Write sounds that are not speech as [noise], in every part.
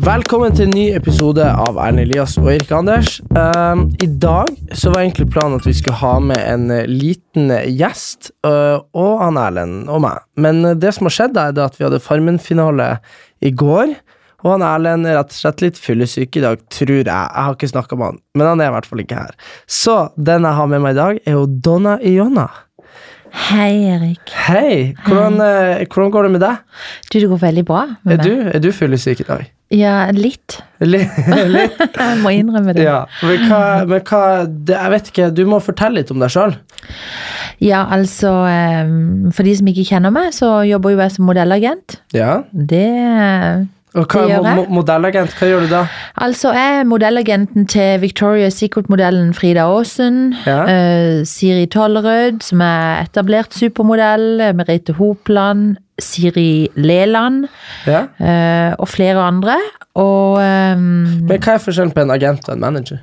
Velkommen til en ny episode av Erlend Elias og Erik Anders. Um, I dag så var egentlig planen at vi skulle ha med en eh, liten gjest, eh, og han Erlend og meg. Men eh, det som har skjedd, er det at vi hadde Farmen-finale i går. Og han Erlend er rett og slett litt fyllesyk i dag, tror jeg. Jeg har ikke snakka med han, men han er i hvert fall ikke her. Så den jeg har med meg i dag, er jo Donna Iona. Hei, Erik. Hei! Hvordan, eh, hvordan går det med deg? Du, det går veldig bra med Er du, er du fyllesyk i dag? meg. Ja, litt. Litt, litt Jeg må innrømme det. Ja, men hva, men hva det, Jeg vet ikke, du må fortelle litt om deg sjøl. Ja, altså, eh, for de som ikke kjenner meg, så jobber jo jeg som modellagent. Ja. Det Og hva, Det gjør mo- jeg. mo- modellagent, hva gjør du da? Altså, jeg er modellagenten til Victoria's Secret-modellen Frida Aasen. Ja. eh, Siri Tollerød, som er etablert supermodell. eh, Merete Hopland. Siri Leland. Ja. eh, og flere andre. Og eh, Men hva er forskjellen på en agent og en manager?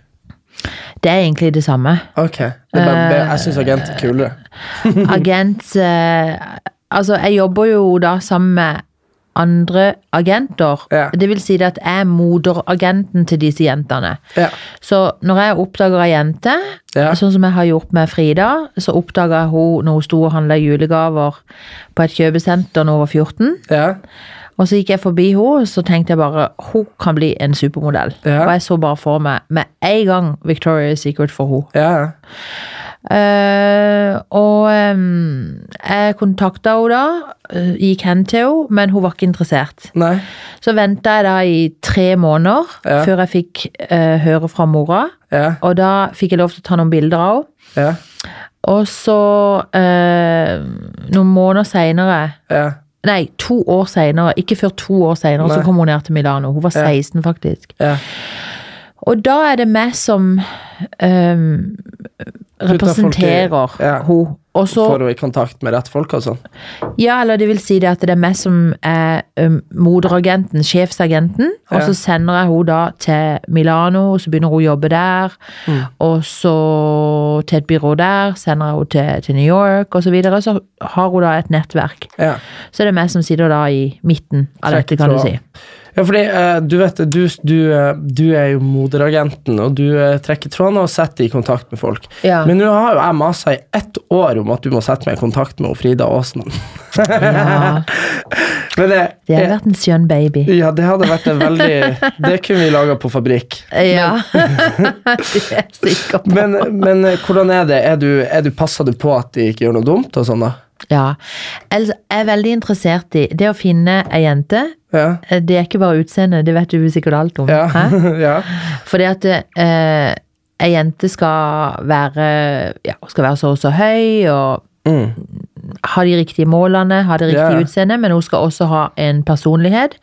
det er egentlig det samme. Ok, det er bare, det- Jeg syns agent er kulere. [laughs] agent eh, Altså, jeg jobber jo da sammen med andre agenter. Ja. Det vil si det at jeg er moderagenten til disse jentene. Ja. Så når jeg oppdager ei jente, Ja. sånn som jeg har gjort med Frida, så oppdaga jeg hun når hun sto og handla julegaver på et kjøpesenter da hun var 14. Ja. Og så gikk jeg forbi henne, og så tenkte jeg bare hun kan bli en supermodell. Ja. Og jeg så bare for meg med en gang Victoria's Secret for henne. ja. Eh, og em, jeg kontakta henne da, eh, gikk hen til henne, men hun var ikke interessert. Nei. Så venta jeg da i tre måneder Ja. før jeg fikk eh, høre fra mora. Ja. Og da fikk jeg lov til å ta noen bilder av henne. Ja. Og så, eh, noen måneder seinere Ja. Nei, to år seinere, ikke før to år seinere, så Nei. kom hun ned til Milano. Hun var Ja. 16, faktisk. ja. Og da er det meg som ehm, representerer folk i- ja. hun. Og så, Får hun i kontakt med rett folk og sånn? ja, eller det vil si det at det er meg som er ehm, moderagenten, sjefsagenten, Ja. og så sender jeg hun da til Milano, og så begynner hun å jobbe der, Mm. og så til et byrå der, sender jeg henne til, til New York, og så videre, så har hun da et nettverk. Ja. Så det er meg som sitter da i midten av Trekk dette, kan du tråd. si. Ja, fordi eh, du vet det, du, du, eh, du er jo moderagenten, og du eh, trekker trådene og setter i kontakt med folk. Ja. Men nå har jo jeg masa i ett år om at du må sette meg i kontakt med Frida Aasen. Ja, Men det, det har vært en skjønn baby. Ja, det hadde vært en [laughs] veldig Det kunne vi laga på fabrikk. Ja, [laughs] det er jeg sikker på. Men, men eh, hvordan er det? Er du, er du Passer du på at de ikke gjør noe dumt og sånn, da? Ja. Altså, jeg er veldig interessert i det å finne ei jente. Ja. eh, Det er ikke bare utseendet, det vet du sikkert alt om. Ja. hæ? [laughs] ja. Fordi at eh, ei jente skal være, ja, skal være så og så høy, og ha de riktige målene, ha det riktige Ja. utseendet, men hun skal også ha en personlighet.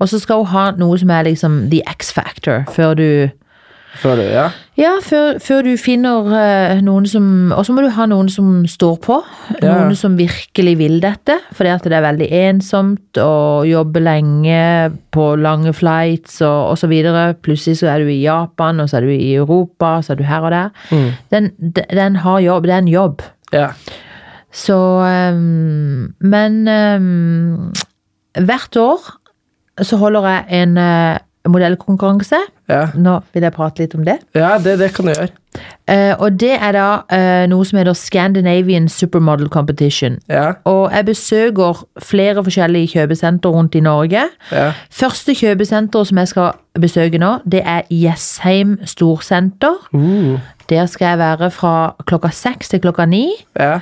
Og så skal hun ha noe som er liksom the X-factor, før du Før du, ja. Ja, før, før du finner eh, noen som Og så må du ha noen som står på. Ja. Noen som virkelig vil dette. Fordi at det er veldig ensomt å jobbe lenge på lange flights og, og så videre. Plutselig så er du i Japan, og så er du i Europa, så er du her og der. Mm. Den, de- den har jobb. Det er en jobb. ja. Så eh, Men eh, hvert år så holder jeg en eh, modellkonkurranse. Ja. Nå vil jeg prate litt om det. ja det, det kan du gjøre. Eh, og det er da eh, noe som heter Scandinavian Supermodel Competition. Ja. Og jeg besøker flere forskjellige kjøpesenter rundt i Norge. Ja. Første kjøpesenter som jeg skal besøke nå, det er Jessheim Uh. Storsenter. Der skal jeg være fra klokka seks til klokka ni. Ja.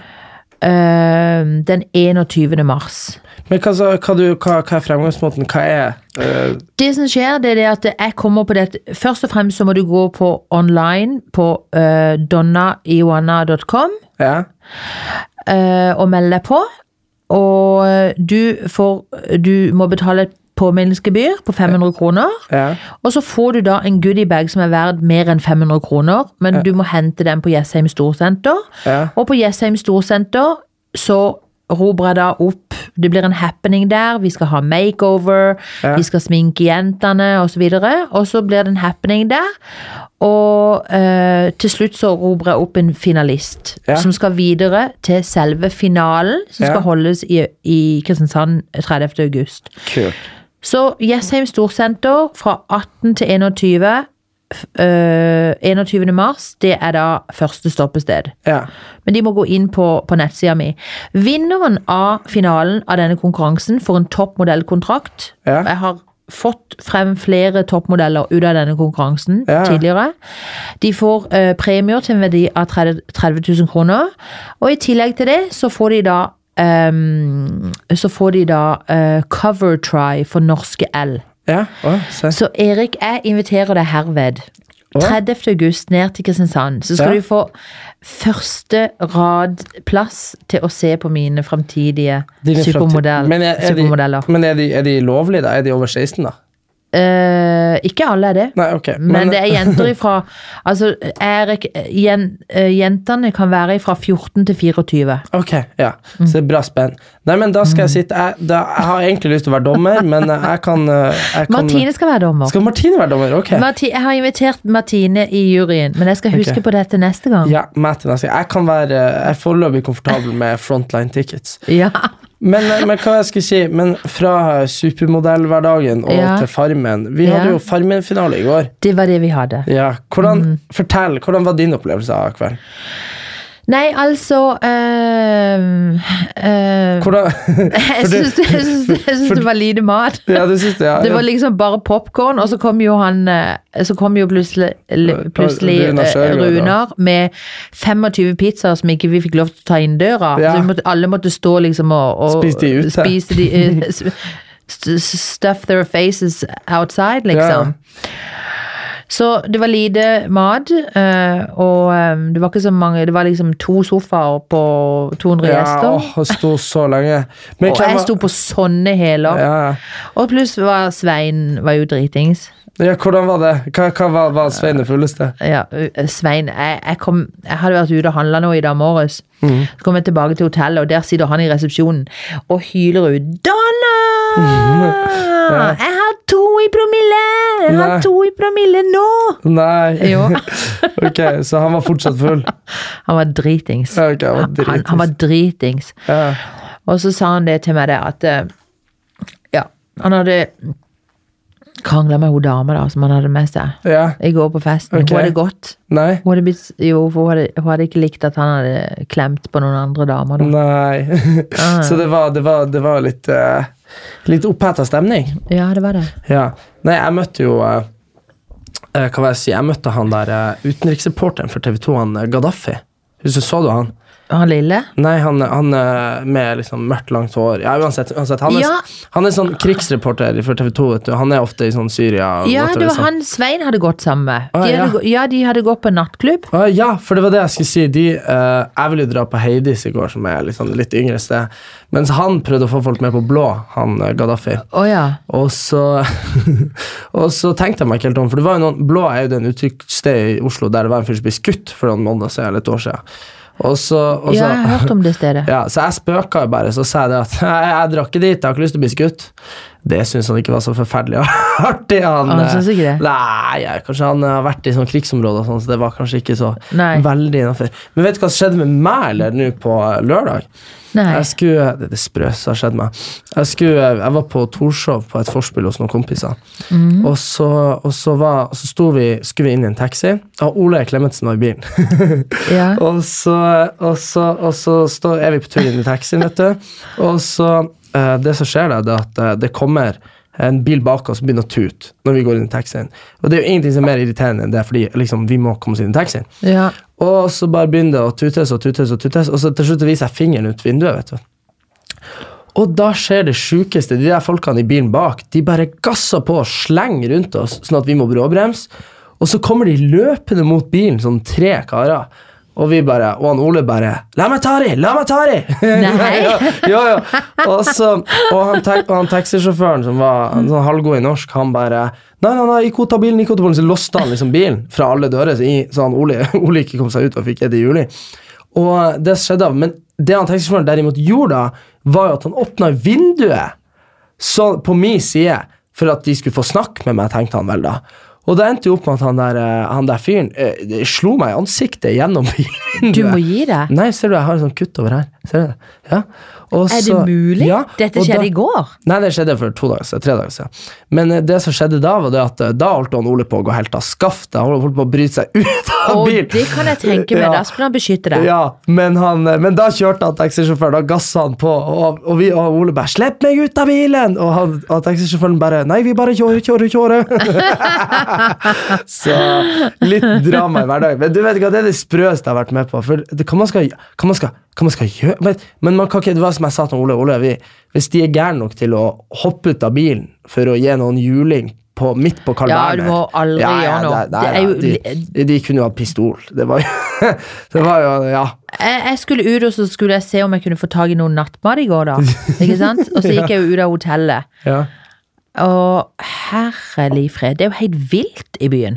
eh, den 21. mars. Men hva, så- hva, du, hva, hva er fremgangsmåten? Hva er eh, Det som skjer, det er det at jeg kommer på det at Først og fremst så må du gå på online på eh, donnaiwana.com ja? eh, og melde deg på. Og eh, du får Du må betale et påminnelsesgebyr på 500 kroner. ja. Og så får du da en goodiebag som er verd mer enn 500 kroner, men du må hente den på Jessheim Storsenter. Ja. Og på Jessheim Storsenter så roper jeg da opp Det blir en happening der. Vi skal ha makeover, vi skal sminke jentene osv. Og så blir det en happening der. Og eh, til slutt så roper jeg opp en finalist Ja. som skal videre til selve finalen, som Ja. skal holdes i, i Kristiansand 30. august. Kult. Så Jessheim Storsenter fra 18 til 21. f- øh, 21. mars, det er da første stoppested. Ja. Men de må gå inn på, på nettsida mi. Vinneren av finalen av denne konkurransen får en toppmodellkontrakt. Ja. Jeg har fått frem flere toppmodeller ut av denne konkurransen Ja. tidligere. De får øh, premier til en verdi av 30 000 kroner. Og i tillegg til det så får de da ehm, så får de da øh, cover try for norske L. Ja, å, se. Så Erik, jeg inviterer deg herved. 30. august ned til Kristiansand. Så skal Ja. du få første rad plass til å se på mine framtidige Dine fremtid- supermodell, Men er, er supermodeller. De, men er de, er de lovlige, da? Er de over 16, da? Eh, ikke alle er det. Nei, ok. Men, det er jenter ifra [laughs] Altså, Erik, jen, eh, jentene kan være ifra 14 til 24. Ok, ja. Mm. Så det er bra spenn. Nei, men da skal jeg sitte Jeg, da, jeg har egentlig lyst til å være dommer, men jeg [laughs] kan, eh, jeg kan Martine skal være dommer. Skal Martine være dommer? Ok. Marti, jeg har invitert Martine i juryen, men jeg skal huske Ok. på dette neste gang. Ja, meg til neste gang. Jeg kan være Jeg er foreløpig komfortabel med frontline tickets. [laughs] ja. Men, eh, men hva jeg skulle si Men fra supermodellhverdagen og Ja. til Farmen. Vi Ja. hadde jo Farmen-finale i går. Det var det vi hadde. Ja, hvordan, Mm. Fortell, hvordan var din opplevelse av kvelden? Nei, altså ehm, ehm, Hvordan, [laughs] [laughs] Jeg for du- syns, det, jeg syns, det, jeg syns det var lite mat. ja, du synes det, ja. Det var Ja. liksom bare popkorn, og så kom jo han eh, Så kom jo plutselig, l- plutselig Runar eh, Sjøgren, ja. Runar med 25 pizzaer som ikke vi fikk lov til å ta inn døra. Ja. Så vi måtte, alle måtte stå liksom og, og Spise de ute. spise de, eh, s- st- Stuff their faces outside, liksom. Ja. Så det var lite mat, eh, og eh, det var ikke så mange Det var liksom to sofaer på 200 gjester. Ja, åh, jeg sto så lenge. Men og hvem jeg var- sto på sånne hæler. ja. Og pluss var Svein var jo dritings. ja, hvordan var det? Hva, hva var, var Svein det fulleste? Ja, ø, Svein, jeg, jeg, kom, jeg hadde vært ute og handla nå i dag morges. Mm. Så kom jeg tilbake til hotellet, og der sitter han i resepsjonen og hyler [laughs] ut 'Donna! Jeg har to i promille! Jeg har Nei. to i promille nå!' Nei. Jo. [laughs] ok, så han var fortsatt full. Han var dritings. Ja, ok, han var Han, dritings. han var dritings. Ja. Og så sa han det til meg, det at eh, Ja, han hadde krangla med hun dama da, som han hadde med seg ja. i går på festen. Ok. Hun hadde gått. Nei. Hun hadde, blitt, jo, for hun, hadde, hun hadde ikke likt at han hadde klemt på noen andre damer. Da. Nei. Ah. [laughs] så det var, det var, det var litt, eh, litt oppheta stemning. Ja, det var det. Ja. Nei, jeg møtte jo eh, eh, Hva var det jeg si? Jeg møtte han der eh, utenriksreporteren for TV 2, han eh, Gaddafi. Husker, så du han? Han lille? Nei, han, han eh, med liksom mørkt, langt hår. Ja, uansett. uansett han, er, Ja. han er sånn krigsreporter for TV 2. Vet du. Han er ofte i sånn Syria. og Ja, whatever, det var sånn. han Svein hadde gått sammen med. Å, De hadde, ja. gå- ja, de hadde gått på en nattklubb. Ah, ja, for det var det jeg skulle si. De, eh, jeg ville jo dra på Heidis i går, som er liksom litt yngre sted. Mens han prøvde å få folk med på blå, han eh, Gaddafi. Å ja. Og så, [laughs] og så tenkte jeg meg ikke helt om, for det var jo noen, blå er jo den uttrykksstedet i Oslo der det var en fyr som ble skutt for noen måneder siden, eller et år siden. Og så, og så, Ja, jeg har hørt om det stedet. [laughs] ja, så jeg spøka jo bare, så sa jeg det at [laughs] jeg, jeg drar ikke dit, jeg har ikke lyst til å bli skutt. Det syns han ikke var så forferdelig [laughs] artig. Han, Han synes eh, ikke det? Nei, ja, kanskje han har vært i sånn krigsområder og sånn, så det var kanskje ikke så Nei. veldig innafor. Men vet du hva som skjedde med meg eller nå på lørdag? Nei. Jeg skulle, det er det sprøeste som har skjedd meg. Jeg, skulle, jeg var på Torshov på et forspill hos noen kompiser. Mhm. Og så, og så, var, så sto vi, skulle vi inn i en taxi, og Ole Klemetsen var i bilen. Ja. [laughs] Og så, og så, og så står- er vi på tur inn i taxien, vet du. Og så eh, Det som skjer, da, det er at eh, det kommer en bil bak oss begynner å tute når vi går inn i taxien. Og det er jo ingenting som er mer irriterende enn det, fordi liksom, vi må komme oss inn i taxien. Ja. Og så bare begynner det å tutes og tutes og tutes, og så til slutt viser jeg fingeren ut vinduet. vet du. Og da skjer det sjukeste. De der folkene i bilen bak de bare gasser på og slenger rundt oss, sånn at vi må bråbremse. Og så kommer de løpende mot bilen, sånn tre karer. Og vi bare, og han Ole bare 'La meg ta de! La meg ta de!' [laughs] Nei. ja, ja, ja. Og, så, og, han, ta- og han taxisjåføren som var en sånn halvgod i norsk, han bare 'Nei, nei, nei, ikke ta bilen, ikke ta bilen.' Så låste han liksom bilen fra alle dører, så, i, så han Ole, [laughs] Ole ikke kom seg ut og fikk et i juli. Og det skjedde, men det han taxisjåføren derimot gjorde da, var jo at han åpna vinduet så, på min side for at de skulle få snakke med meg, tenkte han vel da. Og det endte jo opp med at han der, eh, han der fyren eh, det slo meg i ansiktet gjennom [laughs] vinduet. Du må gi deg. Nei, ser du, jeg har en sånn kutt over her. Ser du det? Ja. Og Er det så- mulig? Ja, Dette og da- skjedde i går. Nei, det skjedde for to dager siden, tre dager siden. Men eh, det som skjedde da, var det at eh, da holdt han Ole på å gå helt av skaftet. Han holdt på å bryte seg ut av Og bilen. det kan jeg tenke meg. Ja. Da skulle han beskytte deg. Ja, men, han, eh, men da kjørte han taxisjåføren, da gassa han på, og, og, vi, og Ole bare 'Slipp meg ut av bilen!' Og, han, og taxisjåføren bare 'Nei, vi bare kjører, kjører, kjører'. Så litt drama i hverdagen. Men du vet ikke, hva, det er det sprøeste jeg har vært med på. For det, hva man skal, hva man skal, hva man skal gjøre men, men man kan ikke, det var som jeg sa til Ole, Ole vi, hvis de er gærne nok til å hoppe ut av bilen for å gi noen juling på, midt på Carl Ja, du Berner må aldri gjøre noe. Nei, Det er jo nei, li- de, de kunne jo ha pistol. Det var jo, [laughs] det var jo Ja. jeg, jeg skulle ut, og så skulle jeg se om jeg kunne få tak i noe nattmat i går, da. Ikke sant? Og så gikk jeg jo ut av hotellet. Ja, Og herlig fred, det er jo helt vilt i byen.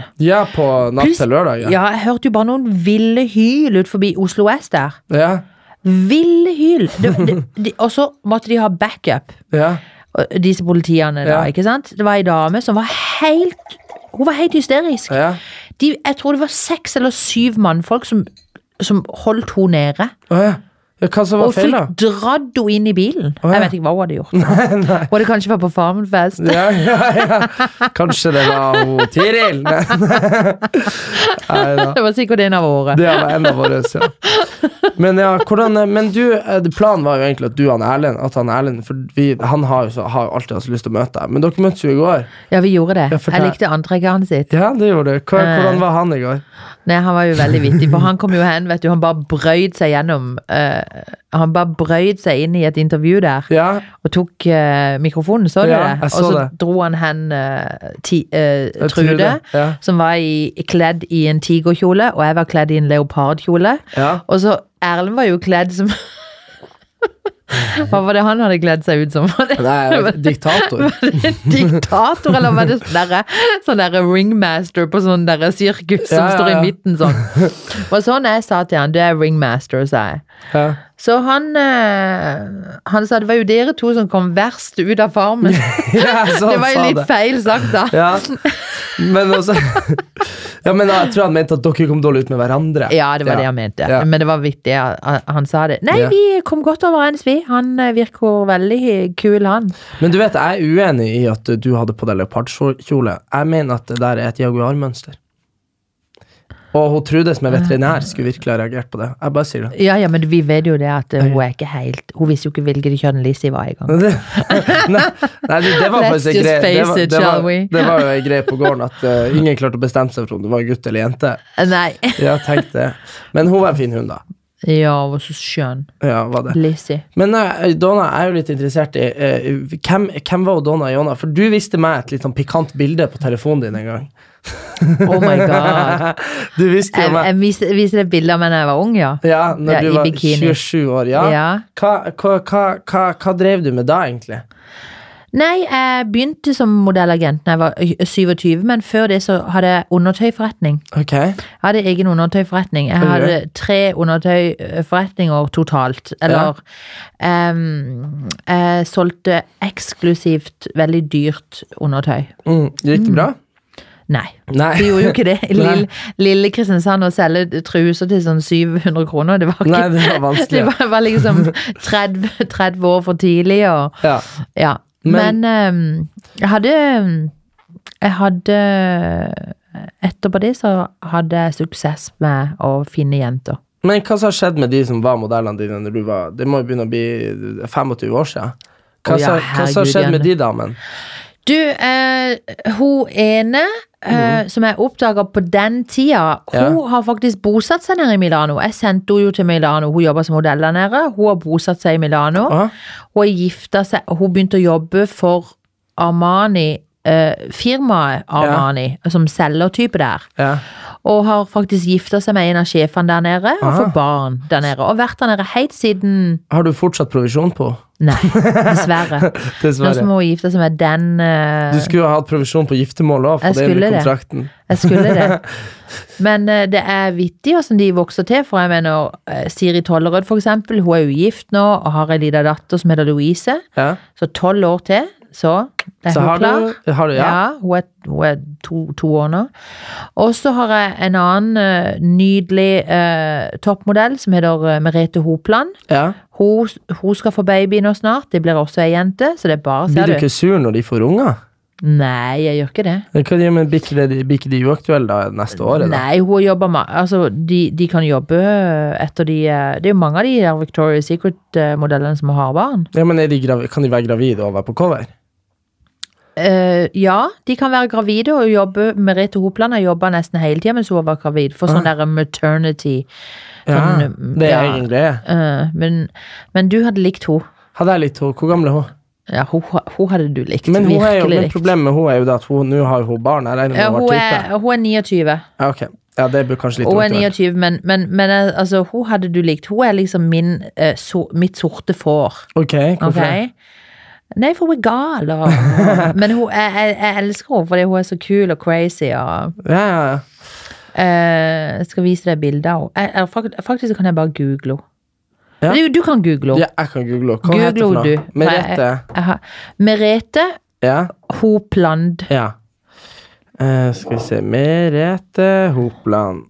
på natt Pluss- til lørdag. Ja. Ja, jeg hørte jo bare noen ville hyl ut forbi Oslo S der. Ja. Ville hyl! Det, det, de, og så måtte de ha backup, Ja. og disse politiene da, Ja. ikke sant? Det var ei dame som var helt Hun var helt hysterisk. Ja. De, jeg tror det var seks eller syv mannfolk som, som holdt henne nede. Å, ja. ja. Hva som var Og feil, da? fikk dratt henne inn i bilen. Jeg vet ikke hva hun hadde [laughs] gjort. Hun hadde kanskje vært på Farmenfest. Ja, ja, ja. Kanskje det var hun [laughs] Tiril? Nei, da. Det var sikkert en av våre. Det var en av våre, ja. Men, ja, hvordan, men du, eh, planen var jo egentlig at du og han Erlend At han Erlend, for vi, han har jo så, har jo alltid hatt så lyst til å møte deg. Men dere møttes jo i går. Ja, vi gjorde det. Ja, for Jeg det- likte antrekket hans sitt. Ja, det gjorde du. Hva, Eh. hvordan var han i går? Nei, Han var jo veldig vittig, for han kom jo hen, vet du, han bare brøyd seg gjennom eh, Han bare brøyd seg inn i et intervju der, Ja, og tok eh, mikrofonen, så du Ja, det? jeg så Og så det. dro han hen eh, ti, eh, Trude, Trude, ja. som var i, kledd i en tigerkjole, og jeg var kledd i en leopardkjole. ja. Og så Erlend var jo kledd som [laughs] Hva var det han hadde kledd seg ut som? Var det Nei, jeg [laughs] vet- diktator. en diktator, eller var det sånn derre sånn derre ringmaster på sånn derre sirkus som Ja, ja, står i ja. midten [laughs] sånn? Og sånn jeg sa til han, du er ringmaster, sa jeg. Ja. Så han eh, Han sa det var jo dere to som kom verst ut av farmen. [laughs] Ja, så sånn Det han var jo sa litt det. feil sagt, da. Ja, men også [laughs] Ja, men jeg tror han mente at dere kom dårlig ut med hverandre. Ja, det var det han mente. Ja. Men det var viktig at at han sa det. Nei, Ja. vi kom godt overens, vi. Han eh, virker veldig kul, han. Men du vet, jeg er uenig i at du hadde på deg leopardkjole. Jeg mener at det der er et jaguarmønster. Og hun Trude, som er veterinær, skulle virkelig ha reagert på det. Jeg bare sier det. [laughs] Ja, ja, men vi vet jo det at eh, hun er ikke helt Hun visste jo ikke hvilket kjønn Lizzie var i gang. Men det, nei, nei, du, det var Let's faktisk en just greie det, face var- it, det, shall var- we? det var jo en greie på gården at eh, ingen klarte å bestemme seg for om det var gutt eller jente. Nei. Ja, tenk det. Men hun var en fin hund, da. [laughs] Ja, hun var så skjønn. Ja, var det. Lizzie. Men eh, Donna jeg er jo litt interessert i eh, hvem, hvem var Donna Jonna? For du viste meg et litt sånn pikant bilde på telefonen din en gang. Oh [laughs] my god. Du viste Jeg, jo meg jeg viste, viste det bildet av meg da jeg var ung, ja. Ja, når Ja, du i var bikini. 27 år. Ja. Ja. Hva, hva, hva, hva, hva drev du med da, egentlig? Nei, jeg begynte som modellagent da jeg var ø- 27, men før det så hadde jeg undertøyforretning. Ok. Jeg hadde egen undertøyforretning. Jeg du hadde tre undertøyforretninger totalt. Eller em, Jeg solgte eksklusivt veldig dyrt undertøy. Mm. Gikk det bra? Nei. Nei. Vi gjorde jo ikke det. Nei. Lille, lille Kristiansand å selge truser til sånn 700 kroner, det var ikke [laughs] Nei, det var vanskelig. [laughs] Det var, var liksom 30, 30 år for tidlig og Ja. Ja. Men- Men, ehm, jeg hadde Jeg hadde Etterpå det så hadde jeg suksess med å finne jenter. Men hva som har skjedd med de som var modellene dine når du var Det må jo begynne å bli 25 år siden. Hva Å ja, som hva som har herregud, skjedd med de Janne. damene? Du, eh, hun ene eh, som jeg oppdaga på den tida, hun Mm. Ja. har faktisk bosatt seg nede i Milano. Jeg sendte henne jo til Milano, hun jobber som modell der nede. Hun har bosatt seg i Milano. Aha. Hun har gifta seg, og hun begynte å jobbe for Armani, eh, firmaet Armani, som selgertype der. Ja. Og har faktisk gifta seg med en av sjefene der nede, og Aha. får barn der nede. Og vært der nede helt siden Har du fortsatt provisjon på? Nei, dessverre. Nå som Dessverre. hun gifta seg med den eh, Du skulle jo ha hatt provisjon på giftermål òg, Jeg for det er jo skulle i det. kontrakten. Jeg skulle det. Men eh, det er vittig hvordan de vokser til. For jeg mener eh, Siri Tollerød, for eksempel. Hun er ugift nå og har ei lita datter som heter Louise. Ja. Så tolv år til, så er Så hun har klar. du, har du ja. ja. hun er, hun er to, to år nå. Og så har jeg en annen eh, nydelig eh, toppmodell som heter eh, Merete Hopland. ja. Hun, hun skal få baby nå snart. Det blir også ei jente, så det er bare, Blir ser du du. ikke sur når de får unger? Nei, jeg gjør ikke det. Hva gjør med blir ikke de- blir ikke de uaktuelle da neste året? da? Nei, hun jobber med Altså, de, de kan jobbe etter de eh, Det er jo mange av de der Victoria's Secret-modellene som har barn. Ja, men er de gravi- Kan de være gravide og være på cover? Eh, ja, de kan være gravide og jobbe. Merete Hopland har jobba nesten hele tida mens hun var gravid, for sånn der maternity. Sånn, Ja, det er ja. egen greie. Eh, men, men du hadde likt henne. Hadde jeg litt hår, Hvor gammel er hun? Ja, hun, hun hadde du likt. Men, hun er jo, virkelig men likt. problemet med hun er jo det at hun nå har hun barn. Jeg regner med Ja, hun hun, har vært ute. er, hun er 29. Ja, ok. Ja, det blir kanskje litt Hun er uaktuelt. 29, men, men, men eh, altså, hun hadde du likt. Hun er liksom min, eh, so, mitt sorte får. Ok, hvorfor det? Ok. Nei, for hun er gal. Og, [laughs] men hun, jeg, jeg, jeg elsker henne fordi hun er så kul og crazy. Og, Ja, ja, ja. eh, jeg skal vise deg bilder av henne. Jeg- jeg- fakt- Faktisk så kan jeg bare google henne. Ja. Du, du kan google ja, henne. jeg kan google henne. Hva heter Google hun henne, du. for noe? for Merete. jeg- jeg har- Merete Ja, Hopland. ja. Eh, skal vi se Merete Hopland.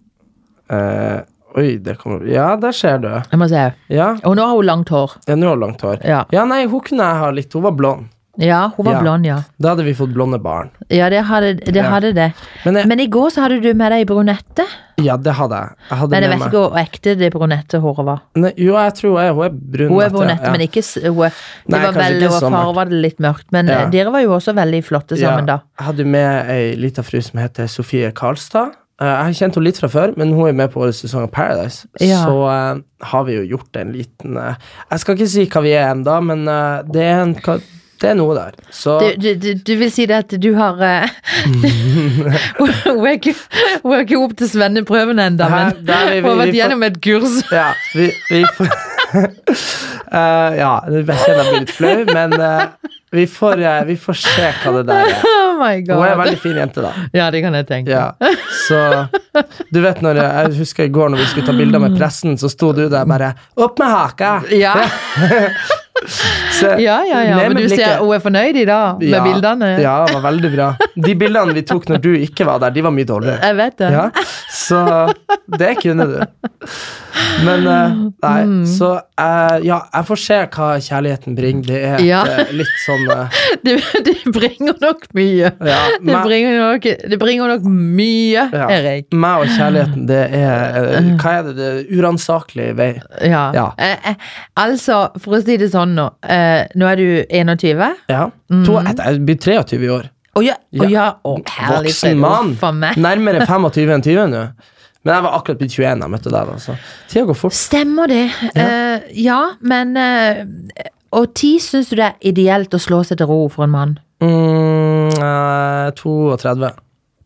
Eh, oi, det kommer Ja, der ser du. Jeg må se. Ja, Og nå har hun langt hår. ja nå har hun langt hår. Ja. nei, hun kunne jeg ha litt. Hun var blond. Ja, hun var Ja. blond, ja. Da hadde vi fått blonde barn. Ja, det hadde det. Ja. Hadde det. Men jeg, Men i går så hadde du med deg brunette. ja, det hadde jeg. jeg hadde Men med jeg vet meg- ikke hvor ekte det brunettehåret var. Nei, jo, jeg tror hun er, hun er brunette. Hun er brunette, ja. men ikke s- hun er, Det Nei, var kanskje veldig, ikke og så mørkt. farva det litt mørkt, men Ja. eh, dere var jo også veldig flotte sammen da. Jeg hadde med ei lita fru som heter Sofie Karlstad. Eh, Jeg har kjent henne litt fra før, men hun er med på årets sesong av Paradise. Ja. Så eh, har vi jo gjort en liten eh, Jeg skal ikke si hva vi er ennå, men eh, det, er en, ka- det er noe der. Så Du, du, du, du vil si det at du har eh, [laughs] Hun hun er ikke, hun er ikke opp til svenneprøven ennå, Her- men der er vi- hun har vi vært får- gjennom et kurs. [laughs] ja, vi, vi får [laughs] Eh, Ja, jeg kjenner jeg blir litt flau, men eh, vi, får, eh, vi får se hva det der er. Oh Hun er my en god. veldig fin jente, da. Ja, det kan jeg tenke. Ja, så Du vet når jeg, jeg husker i går når vi skulle ta bilder med pressen, så sto du der bare 'Opp med haka!' Ja, Så, ja, ja, ja. ned Men med du blikket. ser hun er fornøyd i dag med Ja, bildene? Ja, det var veldig bra. De bildene vi tok når du ikke var der, de var mye dårligere. Jeg vet det. Ja, så det kunne du. Men eh, nei, Mm. så eh, Ja, jeg får se hva kjærligheten bringer. Det er et, Ja. eh, litt sånn eh, Det, det bringer nok ja, mye. [laughs] Det meg- bringer nok, det bringer nok mye, ja, Erik. Mm. Meg og kjærligheten, det er eh, Hva er det? Det er uransakelig vei. Ja. Ja. Eh, eh, altså, for å si det sånn nå. Eh, nå er du 21. Ja. Mm. To, jeg, jeg blir 23 i år. Å ja! Å Ja. ja. Å, herlig Voksen fred. mann. Å, faen meg. [laughs] Nærmere 25 enn 20 nå. Men jeg var akkurat blitt 21 da jeg møtte deg. da, så Tida går fort. Stemmer det. Ja, eh, ja men eh, Og ti syns du det er ideelt å slå seg til ro for en [laughs] mann? Mm, eh, 32.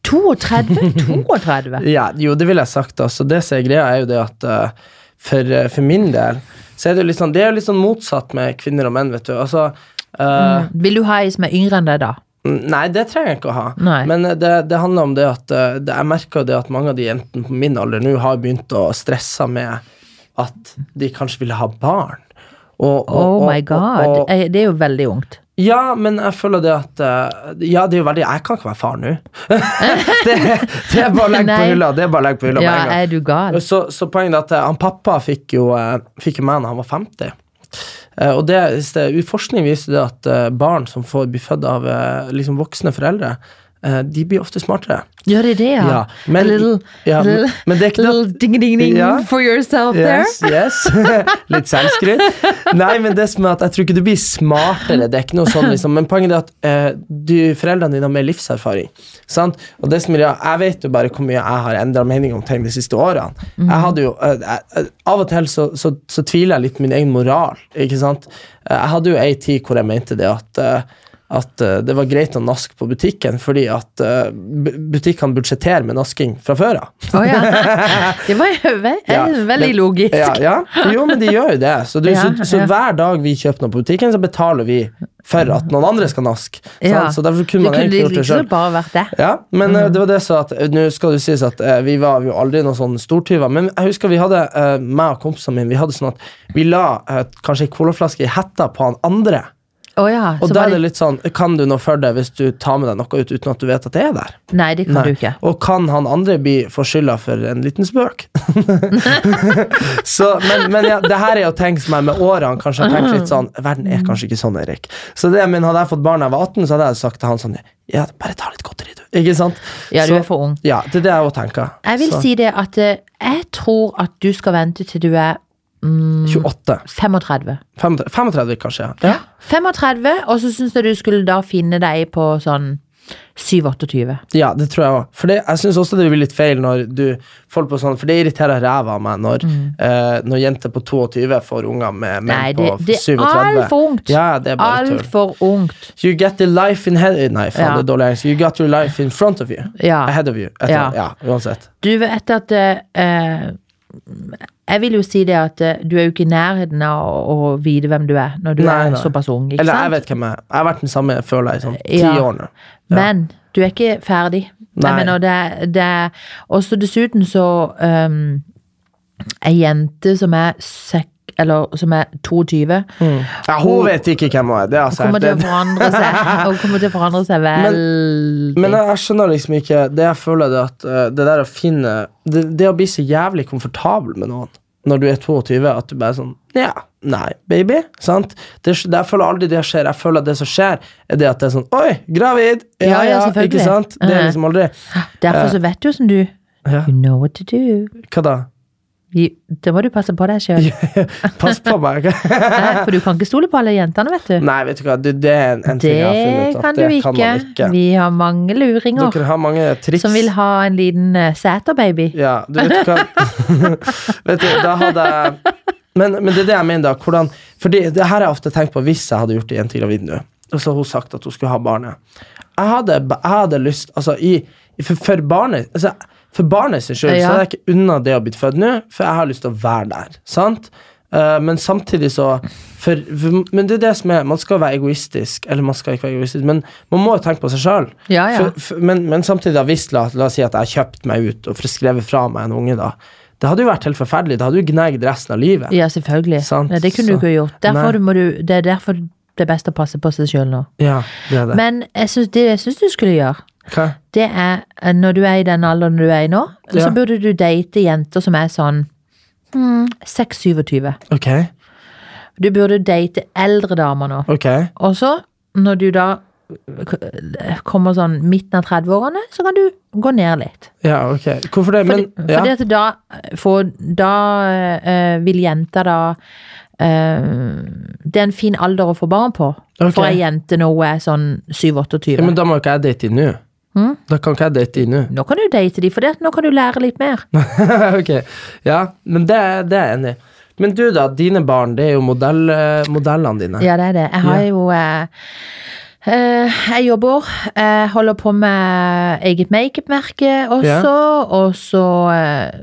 32? 32? Ja, jo, det ville jeg sagt. Altså. Det som er greia, er jo det at eh, for, eh, for min del så er det jo litt sånn Det er jo litt sånn motsatt med kvinner og menn, vet du. Altså eh, Mm. Vil du ha ei som er yngre enn deg, da? Nei, det trenger jeg ikke å ha. Mm. Nei. Men eh, det, det handler om det at eh, det, jeg merker det at mange av de jentene på min alder nå har begynt å stresse med at de kanskje vil ha barn. Og, og- Oh og- my god. og- og- Eh, Det er jo veldig ungt. Ja, men jeg føler det at eh, Ja, det er jo veldig Jeg kan ikke være far nå. [laughs] det, det er bare å legge på Nei. hylla. Det er bare å legge på hylla Ja, med en gang. er du gal? Så, så poenget er at eh, han pappa fikk jo, eh, fikk jo meg når han var 50. Eh, Og det, hvis det, forskning viser det at eh, barn som får, blir født av eh, liksom voksne foreldre, eh, de blir ofte smartere. Gjør de det, ja? Ja, men- A little, ja, men- little, men det er ikke noe- little ding, ding, ding Ja. for yourself Yes, yes. [laughs] Litt selvskryt. Nei, men det som er at jeg tror ikke du blir smartere. Det er ikke noe sånn, liksom. Men poenget er at eh, du, foreldrene dine har mer livserfaring. Sant? Og det som er, greia, jeg vet jo bare hvor mye jeg har endra mening om ting de siste årene. Jeg hadde jo, eh, jeg, av og til så, så, så tviler jeg litt på min egen moral. Ikke sant? Eh, Jeg hadde jo ei tid hvor jeg mente det at eh, at eh, det var greit å naske på butikken, fordi at eh, bu- butikkene budsjetterer med nasking fra før av. der. Å [laughs] ja. Det var jo ve eh, Ja, veldig men- logisk. Ja, ja. Jo, men de gjør jo det. Så, du, [laughs] Ja, så, så ja. hver dag vi kjøper noe på butikken, så betaler vi for at noen andre skal naske. Ja. sant? Så derfor kunne man det egentlig gjort kunne det liksom sjøl. bare vært det. Mm. Ja, men eh, det var det så at eh, Nå skal det sies at eh, vi var jo aldri noen sånne stortyver, men jeg husker vi hadde, eh, meg og kompisene mine, vi hadde sånn at vi la eh, kanskje ei colaflaske i hetta på han andre. Å ja. Og så da var er det det- litt sånn Kan du noe for deg hvis du tar med deg noe ut uten at du vet at det er der? Nei, det kan Nei. du ikke. Og kan han andre bli få skylda for en liten [laughs] spøk? så, men men ja, det her er jo ting som jeg med årene kanskje har tenkt litt sånn Verden er kanskje ikke sånn, Erik. Så det, men hadde jeg fått barn da jeg var 18, så hadde jeg sagt til han sånn Ja, bare ta litt godteri, du. Ikke sant? Ja, du Så- er for ung. Ja, det er det jeg òg tenker. Jeg vil så, si det at eh, jeg tror at du skal vente til du er 28. 35. 35, 35 kanskje. Ja. 35, og så syns jeg du skulle da finne deg på sånn 7-28. Ja, det tror jeg òg. For det, jeg syns også det blir litt feil når du folk på sånn, For det irriterer ræva av meg når, eh, når jenter på 22 får unger med menn Mm. Nei, det, på det er 37. altfor ungt. Ja, det er bare tull. Altfor ungt. You get the life in head Nei, faen, Ja. det er dårlig engelsk. You got your life in front of you. Ja. Ahead of you. Etter, ja. Ja. uansett. Du vet at eh, eh, Jeg vil jo si det at eh, du er jo ikke i nærheten av å, å vite hvem du er når du Nei, er nei. såpass ung. Ikke Eller jeg sant? vet hvem jeg er. Jeg har vært den samme føler jeg i sånn ti Ja. år nå. Men du er ikke ferdig. Nei. Jeg mener, det, det Og så dessuten så um, Ei jente som er sek... Eller som er 22, Ja, hun vet ikke hvem hun er. altså Det har jeg kommer til å sagt. [laughs] forandre seg. Og kommer til å forandre seg veldig. Men jeg, jeg skjønner liksom ikke Det jeg føler er at eh, det der å finne det, det å bli så jævlig komfortabel med noen når du er 22, at du bare er sånn Ja, nei, baby. Sant? Det, det, jeg føler aldri det skjer. Jeg føler at det som skjer, er det at det er sånn Oi, gravid! Ja, Ja, ja, ja, selvfølgelig. ikke sant? Det er Mhm. liksom aldri Derfor så vet du hvordan du Ja. You know what to do. Hva da? Vi- Da må du passe på deg [laughs] sjøl. Pass på [laughs] meg. For du kan ikke stole på alle jentene, vet du. Nei, vet du hva, det, det er en, en ting jeg har funnet det ut. at kan du det ikke. Kan man ikke. Vi har mange luringer Dere har mange triks. som vil ha en liten eh, sæterbaby. Ja, du vet hva [laughs] Vet du, da hadde jeg men, men det er det jeg mener, da. Hvordan, for det, det her har jeg ofte tenkt på hvis jeg hadde gjort en jente gravid nå, og så har hun sagt at hun skulle ha barnet. Jeg hadde, jeg hadde lyst Altså, i, for, for barnet altså, For barnet sin skyld Ja. så hadde jeg ikke unna det å bli født nå, for jeg har lyst til å være der. Sant? Eh, men samtidig så for, for, Men det er det som er Man skal være egoistisk, eller man skal ikke være egoistisk, men man må jo tenke på seg sjøl. Ja, ja. For, for, men, men samtidig, da, hvis la, la oss si at jeg har kjøpt meg ut og for- skrevet fra meg en unge, da. Det hadde jo vært helt forferdelig. Det hadde jo gnagd resten av livet. Ja, selvfølgelig. Sant, Nei, det kunne så- du ikke gjort. Nei. Derfor må du, det er derfor det er best å passe på seg sjøl nå. Ja, det er det. Men jeg synes, det jeg syns du skulle gjøre, Hva? det er eh, når du er i den alderen du er i nå, Ja. så burde du date jenter som er sånn hmm, 6-27. Ok, Du burde date eldre damer nå. ok. Og så, når du da k- kommer sånn midten av 30-årene, så kan du gå ned litt. Ja, ok. Hvorfor det? Fordi, Men ja. fordi at da, for da eh, vil jenter da eh, Det er en fin alder å få barn på. Ok. For ei jente når hun er sånn 7-28. ja, men da må jo ikke jeg date inn nå. Hm? Da kan ikke jeg date inn nå. [laughs] Nå kan du date de, for det at nå kan du lære litt mer. ok. Ja, men det, det er jeg enig i. Men du, da. Dine barn, det er jo modell, eh, modellene dine. Ja, det er det. Jeg har jo eh, eh, Jeg jobber, jeg holder på med eget makeupmerke også, og så eh,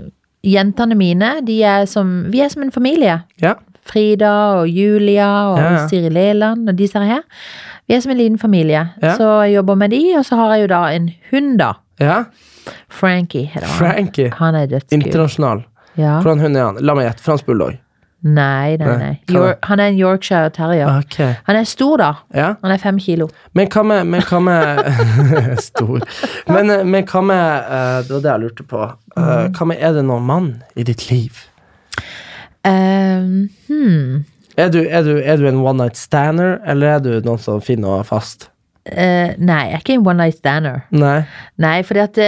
Jentene mine, de er som, vi er som en familie. Ja. Frida og Julia og Ja, ja. Siri Leland og disse her. Vi er som en liten familie. Ja. Så jeg jobber med de, og så har jeg jo da en hund, da. ja. Frankie heter han. Frankie. Han er dødsgud. Internasjonal. Ja. Hvordan hund er han? La meg gjette. Fransk bulldog. Nei, nei, Nei, nei. hva da? Yor- Han er en Yorkshire terrier. Ok. Han er stor, da. Ja. Han er fem kilo. Men hva med, men hva [laughs] med Stor. Men, eh, men hva med eh, Det var det jeg lurte på. Eh, hva med Er det noen mann i ditt liv? Ehm, hmm. Er du, er du, er du en one night stander, eller er du noen som finner noe fast? eh, Nei, jeg er ikke en one night stander. Nei. Nei, fordi at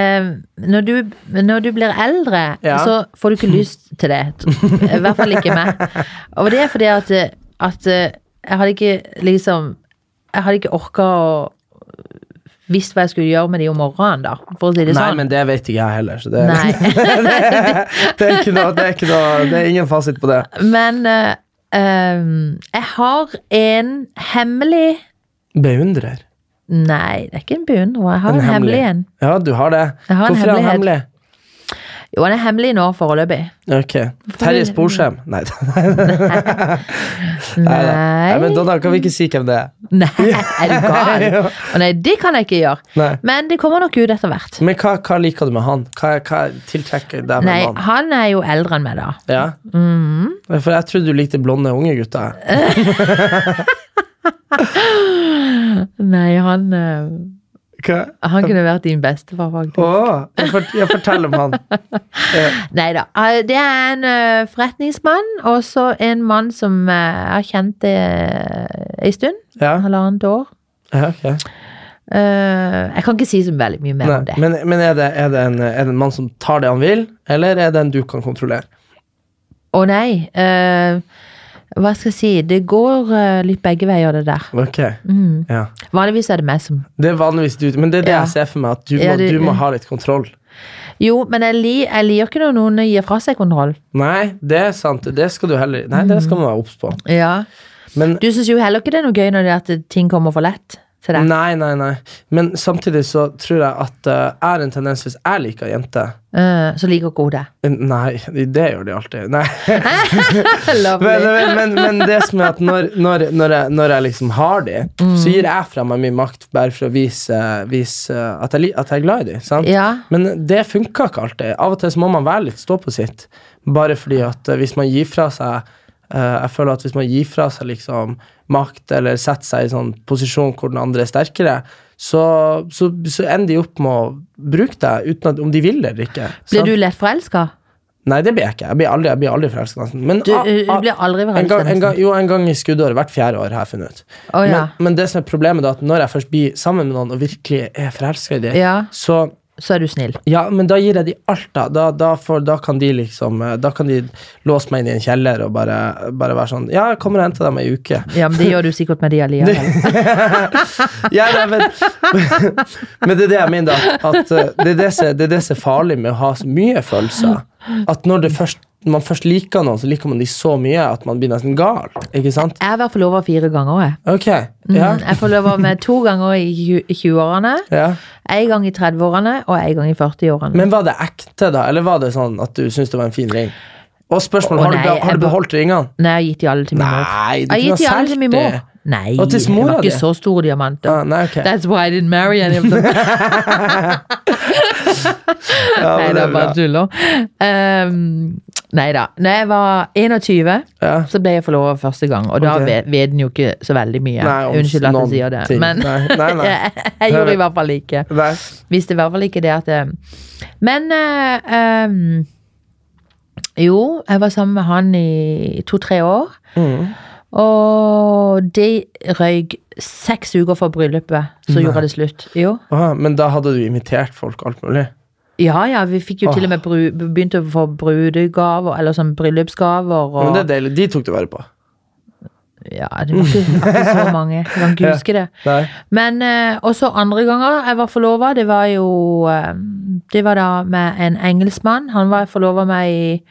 eh, når, du, når du blir eldre, Ja. så får du ikke lyst til det. I hvert fall ikke meg. Og det er fordi at, eh, at eh, jeg hadde ikke liksom Jeg hadde ikke orka å visst hva jeg skulle gjøre med de om morgenen, da. For å si det Nei, sånn. men det vet ikke jeg heller, så det, Nei. [laughs] det, er, ikke noe, det, er, ikke noe, det er ingen fasit på det. [laughs] Men eh, eh, jeg har en hemmelig Beundrer. Nei, det er ikke en beundrer. Jeg har en, hemmelig en. Ja, du har det. Jeg har en Hvorfor er han hemmelig? hemmelighet. Jo, han er hemmelig nå foreløpig. Ok. Terje Sporsem? Nei. [laughs] Nei. Nei, men Nei. Donna, kan vi ikke si hvem det er? [laughs] Nei, er du [laughs] gal? Å nei, det kan jeg ikke gjøre. Nei. Men det kommer nok ut etter hvert. Men hva, hva liker du med han? Hva, hva tiltrekker deg med Nei, han? han er jo eldre enn meg, da. Ja? For jeg trodde du likte blonde unge gutter. Nei, han eh, Hva? Han kunne vært din bestefar, faktisk. Åh, jeg, fort, jeg forteller om han. Nei da. eh, Det er en eh, forretningsmann, og så en mann som eh, jeg har kjent eh, ei stund. Ja, Halvannet år. [laughs] ja ok. Eh, jeg kan ikke si så veldig mye mer Nei, om det. men men er, det, er, det en, er det en mann som tar det han vil, eller er det en du kan kontrollere? Å nei. eh, hva skal jeg si? Det går eh, litt begge veier, det der. Mm. Ok, ja. Vanligvis er det meg som Det er vanligvis du, men det er det Ja. jeg ser for meg, at du må, Ja, du, du- må ha litt kontroll. Jo, men jeg, li, jeg liker ikke når noen gir fra seg kontroll. Nei, det er sant, det skal du heller, nei, det skal man være obs på. Ja. Men, Du syns jo heller ikke det er noe gøy når det er at ting kommer for lett til deg. nei, nei, nei. Men samtidig så tror jeg at eh, jeg har en tendens, hvis jeg liker jenter, Eh, så liker ikke hun det. Nei, det gjør de alltid. Nei. Men, Lovely. men, men, men det som er at når, når, når, jeg, når jeg liksom har de, Mm. så gir jeg fra meg mye makt bare for å vise, vise at, jeg, li- at jeg er glad i de. Sant? Ja. Men det funker ikke alltid. Av og til så må man være litt stå på sitt. Bare fordi at eh, hvis man gir fra seg eh, Jeg føler at hvis man gir fra seg liksom makt, eller setter seg i sånn posisjon hvor den andre er sterkere, så, så, så ender de opp med å bruke deg, uten at, om de vil det eller ikke. sant? Blir du lett forelska? Nei, det blir jeg ikke. Jeg blir aldri, jeg blir aldri forelska, nesten. Men, Du, ah, eh, du ah, blir aldri en gang, en forelska. gang, jo, en gang i skuddåret. Hvert fjerde år har jeg funnet ut. Å ja. men, men det som er problemet da, at når jeg først blir sammen med noen og virkelig er forelska i dem, Ja. så Så er du snill. ja, men da gir jeg dem alt, da. Da, da, får, da kan de liksom eh, Da kan de låse meg inn i en kjeller og bare, bare være sånn Ja, jeg kommer og henter deg om ei uke. Ja, men det gjør du sikkert med de allikevel. Ja, nei, men, [laughs] men det er det jeg mener, da. At eh, det, er det, som, det er det som er farlig med å ha så mye følelser. At når det først, man først liker noen, så liker man de så mye at man blir nesten gal. Ikke sant? Jeg er i hvert fall over fire ganger, jeg. Ok, Mm, ja, Jeg får lov av meg to ganger i tju- i 20-årene, ja. én gang i 30-årene og én gang i 40-årene. Men var det ekte, da? Eller var det sånn at du syntes det var en fin ring? Og spørsmål, Å, har, du, nei, be- har jeg du be- beholdt ringene? Nei, jeg har gitt de alle til min mor. Nei, du kunne jeg har gitt de ha alle solgt til min det. mor. Nei, Og til det mora var di. ikke så stor diamant. da. Ah, nei, ok. That's why I didn't marry any of them. Ja, Nei, men det er bra. bare tuller. Um, nei da. Når jeg var 21, Ja. så ble jeg forlova første gang. Og da Ok. vet- vet en jo ikke så veldig mye. Nei, om Unnskyld at jeg noen sier det, ting. men Nei, nei, nei. [laughs] jeg, jeg gjorde i hvert fall ikke. Nei. Visste i hvert fall ikke det at eh, Men eh, um, jo, jeg var sammen med han i to-tre år. Mm. Og det røyk seks uker for bryllupet, så gjorde jeg det slutt. Jo. Åh, men da hadde du invitert folk og alt mulig? Ja, ja, vi fikk jo til og med bru, begynt å få brudegaver, eller sånn bryllupsgaver. Ja, Og, Men det er deilig. De tok du vare på. Ja, det var ikke, ikke så mange. Jeg kan [laughs] ikke huske det. Nei. Men eh, også andre ganger jeg var forlova, det var jo eh, Det var da med en engelskmann. Han var forlova med i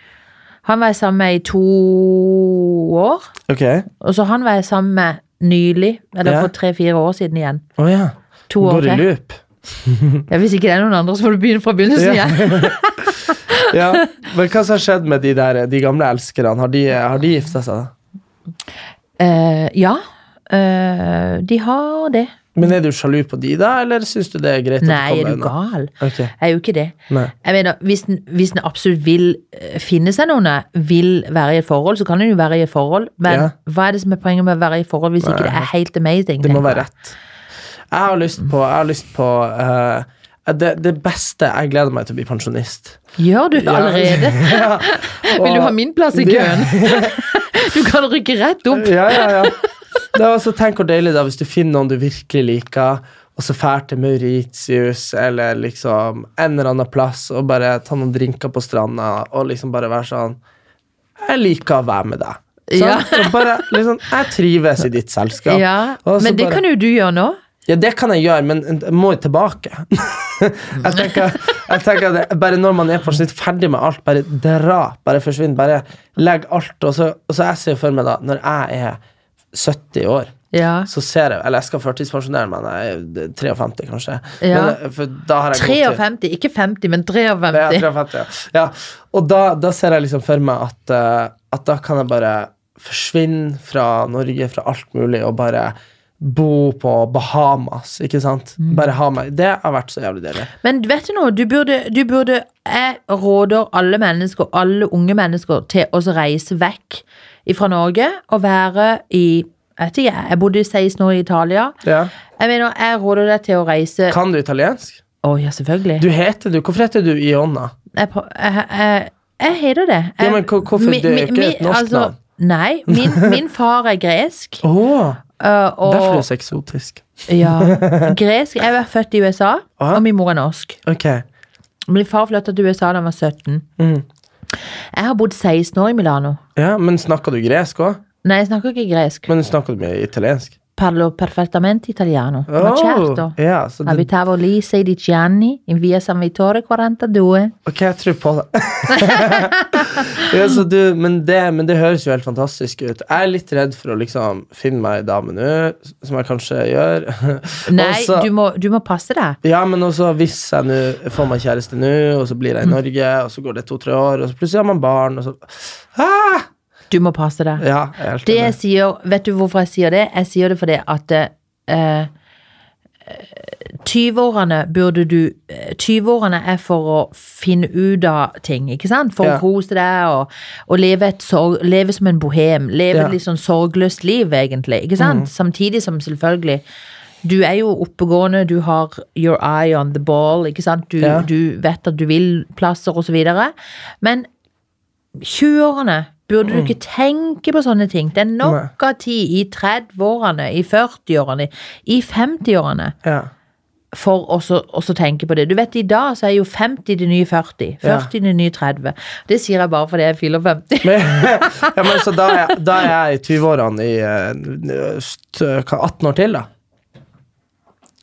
Han var jeg sammen med i to år. Ok. Og så han var jeg sammen med nylig, eller Ja. for tre-fire år siden igjen. Å ja. To år Går i til. loop. Ja, hvis ikke det er noen andre, så får du begynne fra begynnelsen Ja. igjen. Ja. [laughs] Men hva som har skjedd med de, der, de gamle elskerne? Har de, har de gifta seg? da? [laughs] Eh, ja. eh, de har det. Men er du sjalu på de, da, eller syns du det er greit? Nei, er at du gal? Ok. Jeg er jo ikke det. Nei. Jeg mener, Hvis en, hvis en absolutt vil eh, finne seg noen, eh, vil være i et forhold, så kan en jo være i et forhold, men Ja. hva er det som er poenget med å være i et forhold hvis ikke det er helt amazing? Det må tenker være jeg. rett. Jeg har lyst på, jeg har lyst på eh, det, det beste Jeg gleder meg til å bli pensjonist. Gjør du Ja. [laughs] allerede? Vil du ha min plass i Det- [laughs] køen? Du kan rykke rett opp. Ja, ja, ja. Det er altså, tenk hvor deilig det er hvis du finner noen du virkelig liker, og så drar til Mauritius eller liksom en eller annen plass og bare ta noen drinker på stranda og liksom bare være sånn Jeg liker å være med deg. Sant? Ja. Og bare, liksom, jeg trives i ditt selskap. Ja, Og så Men det bare- kan jo du gjøre nå. ja, det kan jeg gjøre, men jeg må jo tilbake. [laughs] jeg tenker, jeg tenker at det, Bare når man er på sitt ferdig med alt, bare dra. Bare forsvinn. Bare legg alt. Og så, og så jeg ser jo for meg, da, når jeg er 70 år Ja. så ser jeg, Eller jeg skal førtidspensjonere meg når jeg er 53, kanskje. Ja. Men, eh, for da har jeg god tid. 53, ikke 50, men Ja, 53. 53, ja. ja. Og da, da ser jeg liksom for meg at, eh, at da kan jeg bare forsvinne fra Norge, fra alt mulig, og bare bo på Bahamas, ikke sant? Bare ha meg Det har vært så jævlig deilig. Men vet du noe, du burde, du burde Jeg råder alle mennesker, alle unge mennesker, til å reise vekk fra Norge og være i Jeg vet ikke, jeg bodde i 16 år i Italia. Ja. Jeg mener, jeg råder deg til å reise Å Kan du italiensk? ja, selvfølgelig. Du heter du Hvorfor heter du Ionna? Jeg, prøv- jeg, jeg, jeg heter det. Ja, Jeg- men hvor- hvorfor? mi- Det er jo mi- ikke et mi- norsk altså, navn. Nei, min, [laughs] min far er gresk. Å! øh, Derfor er du og, så eksotisk. ja, gresk. Jeg var født i USA, Aha. og min mor er norsk. Ok. Min far flytta til USA da han var 17. Mm. Jeg har bodd 16 år i Milano. Ja, Men snakker du gresk òg? Nei, jeg snakker ikke gresk. Men snakker du mye italiensk? Parlo perfettamente italiano. Åh, Ma certo. ja, så det, Abitavo lì 16 anni, in via San Vittore [laughs] 42. ok, jeg tror på det. [laughs] ja, så du, men, det men det høres jo helt fantastisk ut. Jeg er litt redd for å liksom finne meg ei dame nå, som jeg kanskje gjør. [laughs] Nei, Og så- du, må, du må passe deg. Ja, men også hvis jeg nå får meg kjæreste nå, og så Mm. blir jeg i Norge, og så går det to-tre år, og så plutselig har man barn, og så ah! Du må passe deg. Ja, jeg er helt Det enig. jeg sier, vet du hvorfor jeg sier det? Jeg sier det fordi at eh, 20-årene burde du eh, 20-årene er for å finne ut av ting, ikke sant? For Ja. å kose deg og, og leve, et sorg, leve som en bohem. Leve Ja. et litt sånn sorgløst liv, egentlig. ikke sant? Samtidig som selvfølgelig Du er jo oppegående, du har your eye on the ball, ikke sant? Du, Ja. du vet at du vil plasser og så videre. Men 20-årene burde du ikke tenke på sånne ting. Det er nok av tid i 30-årene, i 40-årene, i 50-årene Ja. for også, også tenke på det. Du vet, i dag så er jo 50 det nye 40. 40 det nye 30. Det sier jeg bare fordi jeg fyller 50. Men, [laughs] ja, men så da er, jeg- da er jeg i 20-årene i eh, st- hva, 18 år til, da.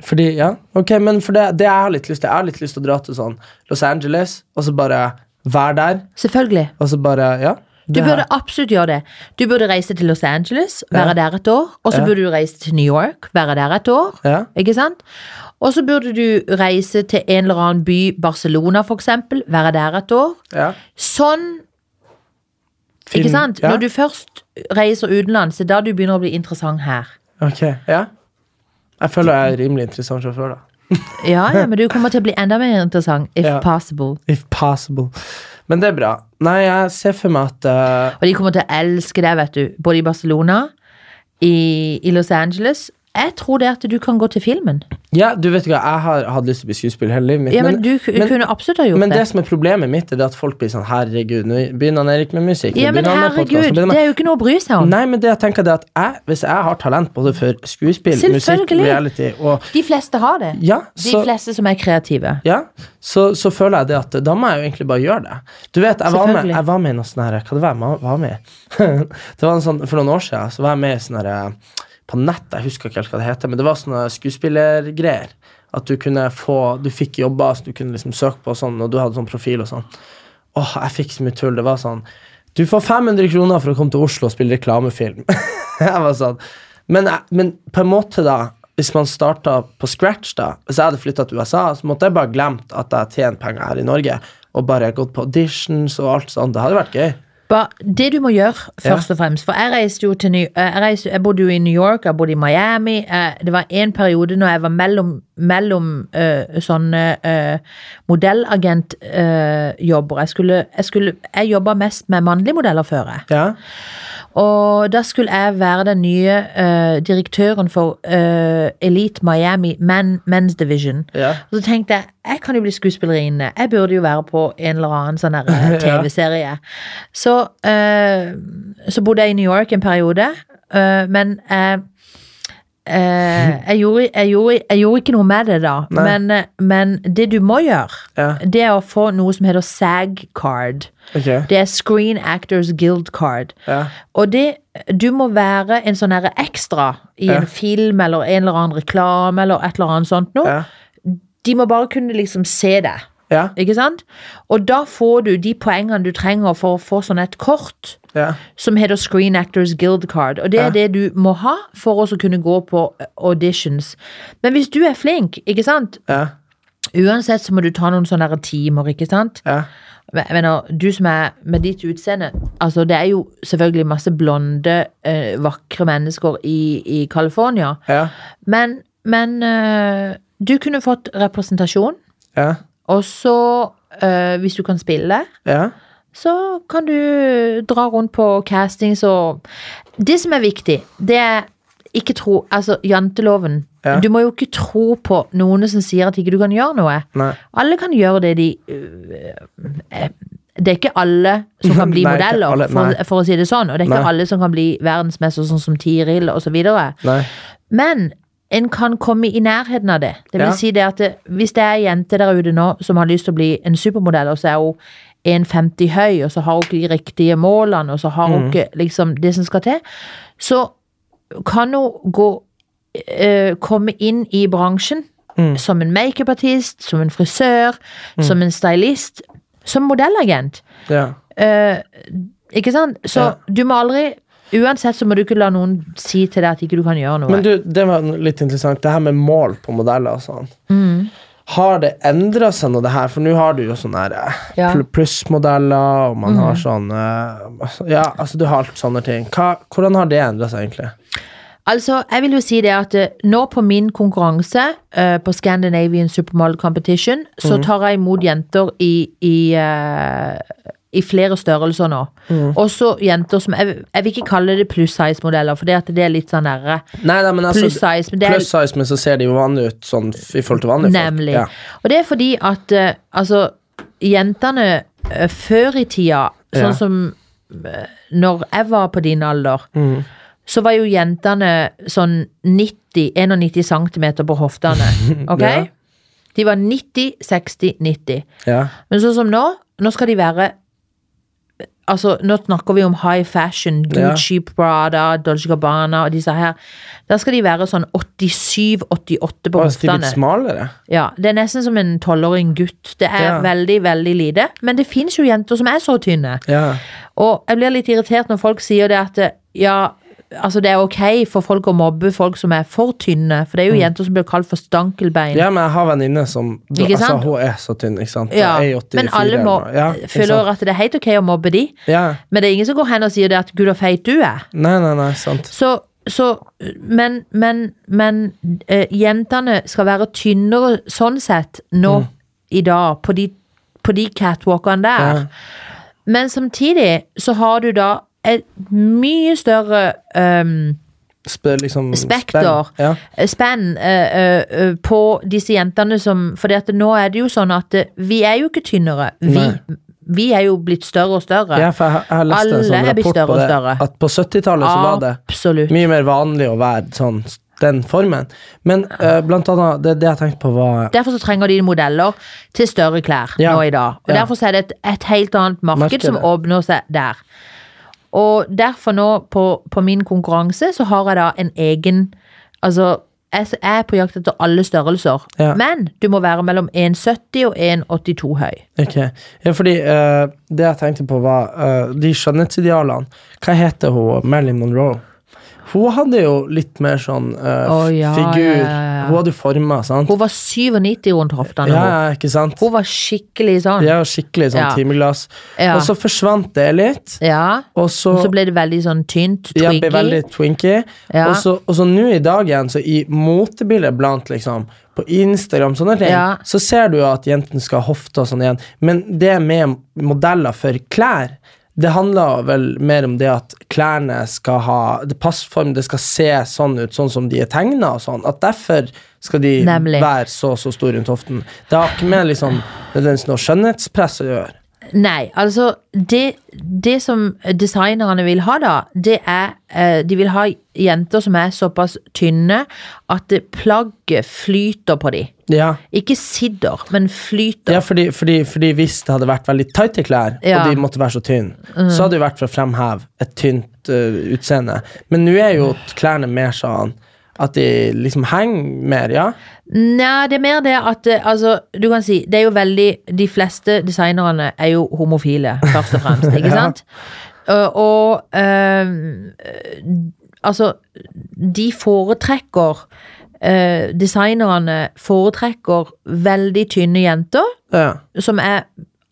Fordi, ja, ok, men for det, det jeg har litt lyst til, jeg har litt lyst til å dra til sånn Los Angeles, og så bare være der, [laughs] Selvfølgelig. og så bare, ja. Du det her. burde absolutt gjøre det. Du burde reise til Los Angeles, være der et år. Og så Ja. burde du reise til New York, være der et år. Ja. Ikke sant? Og så burde du reise til en eller annen by, Barcelona f.eks., være der et år. ja. Sånn Fin- Ikke sant? Ja. Når du først reiser utenlands, det er da du begynner å bli interessant her. Ok, ja. Jeg føler jeg er rimelig interessant sjåfør, da. Ja, ja, men du kommer til å bli enda mer interessant, if Ja. possible. If possible. Men det er bra. Nei, jeg ser for meg at eh, Og de kommer til å elske deg, vet du. Både i Barcelona, i, i Los Angeles. Jeg tror det at du kan gå til filmen. Ja, du vet ikke, hva, jeg har hatt lyst til å bli skuespiller hele livet mitt. Ja, men, du ku- men- kunne absolutt ha gjort men det det. som er problemet mitt, er det at folk blir sånn Herregud, nå begynner han Erik med musikk. nå Ja, men begynner han med podcast, herregud, nå begynner han det er jo ikke noe å bry seg om. Nei, men det jeg tenker det er at jeg, Hvis jeg har talent både for skuespill, musikk, Selvfølgelig. reality og De fleste har det. Ja, De så- fleste som er kreative. ja, så, så føler jeg det at da må jeg jo egentlig bare gjøre det. Du vet, Jeg var med, Selvfølgelig. jeg var med i noe sånn her Hva det var jeg ma- var med i? [laughs] det var en sånn, For noen år siden så var jeg med i sånn her eh, på nett, jeg husker ikke helt hva det heter, men det var sånne skuespillergreier. At du kunne få Du fikk jobber som du kunne liksom søke på, og sånn, og du hadde sånn profil og sånn. Åh, jeg fikk så mye tull. Det var sånn Du får 500 kroner for å komme til Oslo og spille reklamefilm. [laughs] jeg var sånn. Men, jeg- men på en måte, da hvis man starta på scratch, da Hvis jeg hadde flytta til USA, så måtte jeg bare glemt at jeg tjener penger her i Norge, og bare gått på auditions og alt sånt. Det hadde vært gøy. Ba, det du må gjøre, Ja. først og fremst For jeg reiste jo til New, eh, jeg, reiste, jeg bodde jo i New York, jeg bodde i Miami. eh, Det var en periode når jeg var mellom, mellom eh, sånne modellagentjobber. jeg skulle, jeg, skulle, jeg jobba mest med mannlige modeller før. jeg. Ja, Og da skulle jeg være den nye eh, direktøren for eh, Elite Miami Men, Men's Division. ja. Og så tenkte jeg jeg kan jo bli skuespillerinne. Jeg burde jo være på en eller annen sånn her, [laughs] eh, TV-serie. Så, eh, så bodde jeg i New York en periode. eh, men eh, eh, [laughs] jeg, gjorde, jeg, gjorde, jeg gjorde ikke noe med det da, Nei. men, eh, men det du må gjøre, Ja. det er å få noe som heter SAG-card. Ok. Det er Screen Actors Guild Card. Ja. Og det, du må være en sånn her ekstra i Ja. en film eller en eller annen reklame eller et eller annet sånt noe. Ja. De må bare kunne liksom se deg. Ja. Ikke sant? Og da får du de poengene du trenger for å få sånn et kort Ja. som heter Screen Actors Guild Card. Og det er det du må ha for også å kunne gå på auditions. Men hvis du er flink, ikke sant? Ja. Uansett så må du ta noen sånne her timer, ikke sant? Ja. Men jeg mener, du som er med ditt utseende Altså, det er jo selvfølgelig masse blonde, eh, vakre mennesker i, i California. Ja. Men, men eh, du kunne fått representasjon, Ja. og så, eh, hvis du kan spille, Ja. så kan du dra rundt på castings og Det som er viktig, det er ikke tro Altså, janteloven. Ja. Du må jo ikke tro på noen som sier at ikke du kan gjøre noe. Nei. Alle kan gjøre det de øh, eh, Det er ikke alle som kan [laughs] bli Nei, ikke modeller, alle, nei. for, for å si det sånn. Og det er ikke Nei. alle som kan bli verdensmester, sånn som Tiril osv. Nei. Men en kan komme i nærheten av det. Det vil Ja. si det at det, hvis det er ei jente der ute nå som har lyst til å bli en supermodell, og så er hun 1,50 høy, og så har hun ikke de riktige målene, og så har Mhm. hun ikke liksom det som skal til, så kan hun gå eh, komme inn i bransjen Mm. som en makeupartist, som en frisør, som en stylist, som modellagent. Ja. Eh, ikke sant? Så Ja. du må aldri Uansett så må du ikke la noen si til deg at ikke du kan gjøre noe. Men du, det var litt interessant. Det her med mål på modeller og sånn. Mm. Har det endra seg noe, det her? For nå har du jo sånne her, eh, Ja. Mhm. pl- plussmodeller, og man har sånn eh, Ja, altså, du har alt sånne ting. Hva, hvordan har det endra seg, egentlig? Altså, jeg vil jo si det at eh, nå på min konkurranse eh, på Scandinavian Supermodel Competition, så tar jeg imot jenter i, i, eh, i flere størrelser nå. Også jenter som Jeg, jeg vil ikke kalle det pluss size-modeller, for det, at det er litt sånn derre Nei, nei, men altså, Pluss size, men det er- pluss size, men så ser de jo vanlige ut sånn f- i forhold til vanlige folk. Nemlig. Ja. Og det er fordi at eh, altså, jentene eh, før i tida, sånn Ja. som eh, når jeg var på din alder, Mm. så var jo jentene sånn 90-91 cm på hoftene. [laughs] Ok? Ja. De var 90-60-90. Ja. Men sånn som nå, nå skal de være Altså, nå snakker vi om high fashion, Ja. Gucci, Prada, Dolce Gabbana og disse her. Da skal de være sånn 87-88 Og på så de er hoftene. litt smalere. Ja, Det er nesten som en tolvåring gutt. Det er Ja. veldig, veldig lite. Men det fins jo jenter som er så tynne. Ja. Og jeg blir litt irritert når folk sier det at eh, ja, altså det er ok for folk å mobbe folk som er for tynne. For det er jo jenter som blir kalt for Mm. stankelbein. ja, men jeg har venninne som Ikke Altså, sant? hun er så tynn, ikke sant. Ja, Jeg er 84 men alle må, eller noe. ja, ikke sant? føler at det er helt ok å mobbe de. Ja. Men det er ingen som går hen og sier det at 'gud, så feit du er'. Nei, nei, nei, sant. Så, så Men, men, men eh, jentene skal være tynnere sånn sett nå Mm. i dag, på de, på de catwalkene der. Ja. Men samtidig så har du da et mye større ehm, Spe, liksom, spekter, spenn. Ja. eh, spenn, eh, eh, eh, på disse jentene som For at nå er det jo sånn at eh, vi er jo ikke tynnere. Vi, Nei. vi er jo blitt større og større. Ja, for jeg, jeg har lest en Alle sånn er blitt rapport større på og det, større. at på 70-tallet så var det Absolutt. mye mer vanlig å være sånn den formen. Men eh, blant annet, det, det jeg tenkte på var Derfor så trenger de modeller til større klær Ja. nå i dag. Og Ja. derfor så er det et, et helt annet marked Marked, som ja. åpner seg der. Og derfor nå, på, på min konkurranse, så har jeg da en egen Altså, jeg s- jeg er på jakt etter alle størrelser. Ja. Men du må være mellom 1,70 og 1,82 høy. Ok. Ja, fordi eh, det jeg tenkte på var eh, de skjønnhetsidealene. Hva heter hun? Marilyn Monroe. Hun hadde jo litt mer sånn eh, Å, ja, figur. ja, ja, ja. Hun hadde jo former, sant? Hun var 97 rundt hoftene. Ja, hun. ja, ikke sant? Hun var skikkelig sånn. Ja, skikkelig sånn Ja. timeglass. Ja. Og så forsvant det litt, Ja. og så, Og så ble det veldig sånn tynt. Ja, ble twiggy. veldig twinky. Ja. Og så- Og så nå i dag igjen, så i motebildet blant liksom på Instagram, sånne ting, Ja. så ser du jo at jentene skal ha hofte og sånn igjen. Men det med modeller for klær, det handler vel mer om det at klærne skal ha det passform, det skal se sånn ut, sånn som de er tegna og sånn. At derfor skal de Nemlig. være så og så store rundt hoften. Det har ikke med liksom nødvendigvis noe skjønnhetspress å gjøre. Nei, altså det, det som designerne vil ha, da, det er eh, De vil ha jenter som er såpass tynne at det- plagget flyter på dem. Ja. Ikke sidder, men flyter. Ja, fordi, fordi, fordi hvis det hadde vært veldig tighte klær, Ja. og de måtte være så tynne, så hadde det jo vært for å fremheve et tynt eh, utseende. Men nå er jo klærne mer sånn at de liksom henger mer, ja. Nei, det er mer det at eh, altså, Du kan si, det er jo veldig De fleste designerne er jo homofile, først og [laughs] fremst, ikke sant? Eh, og eh, Altså, de foretrekker eh, Designerne foretrekker veldig tynne jenter ja. som er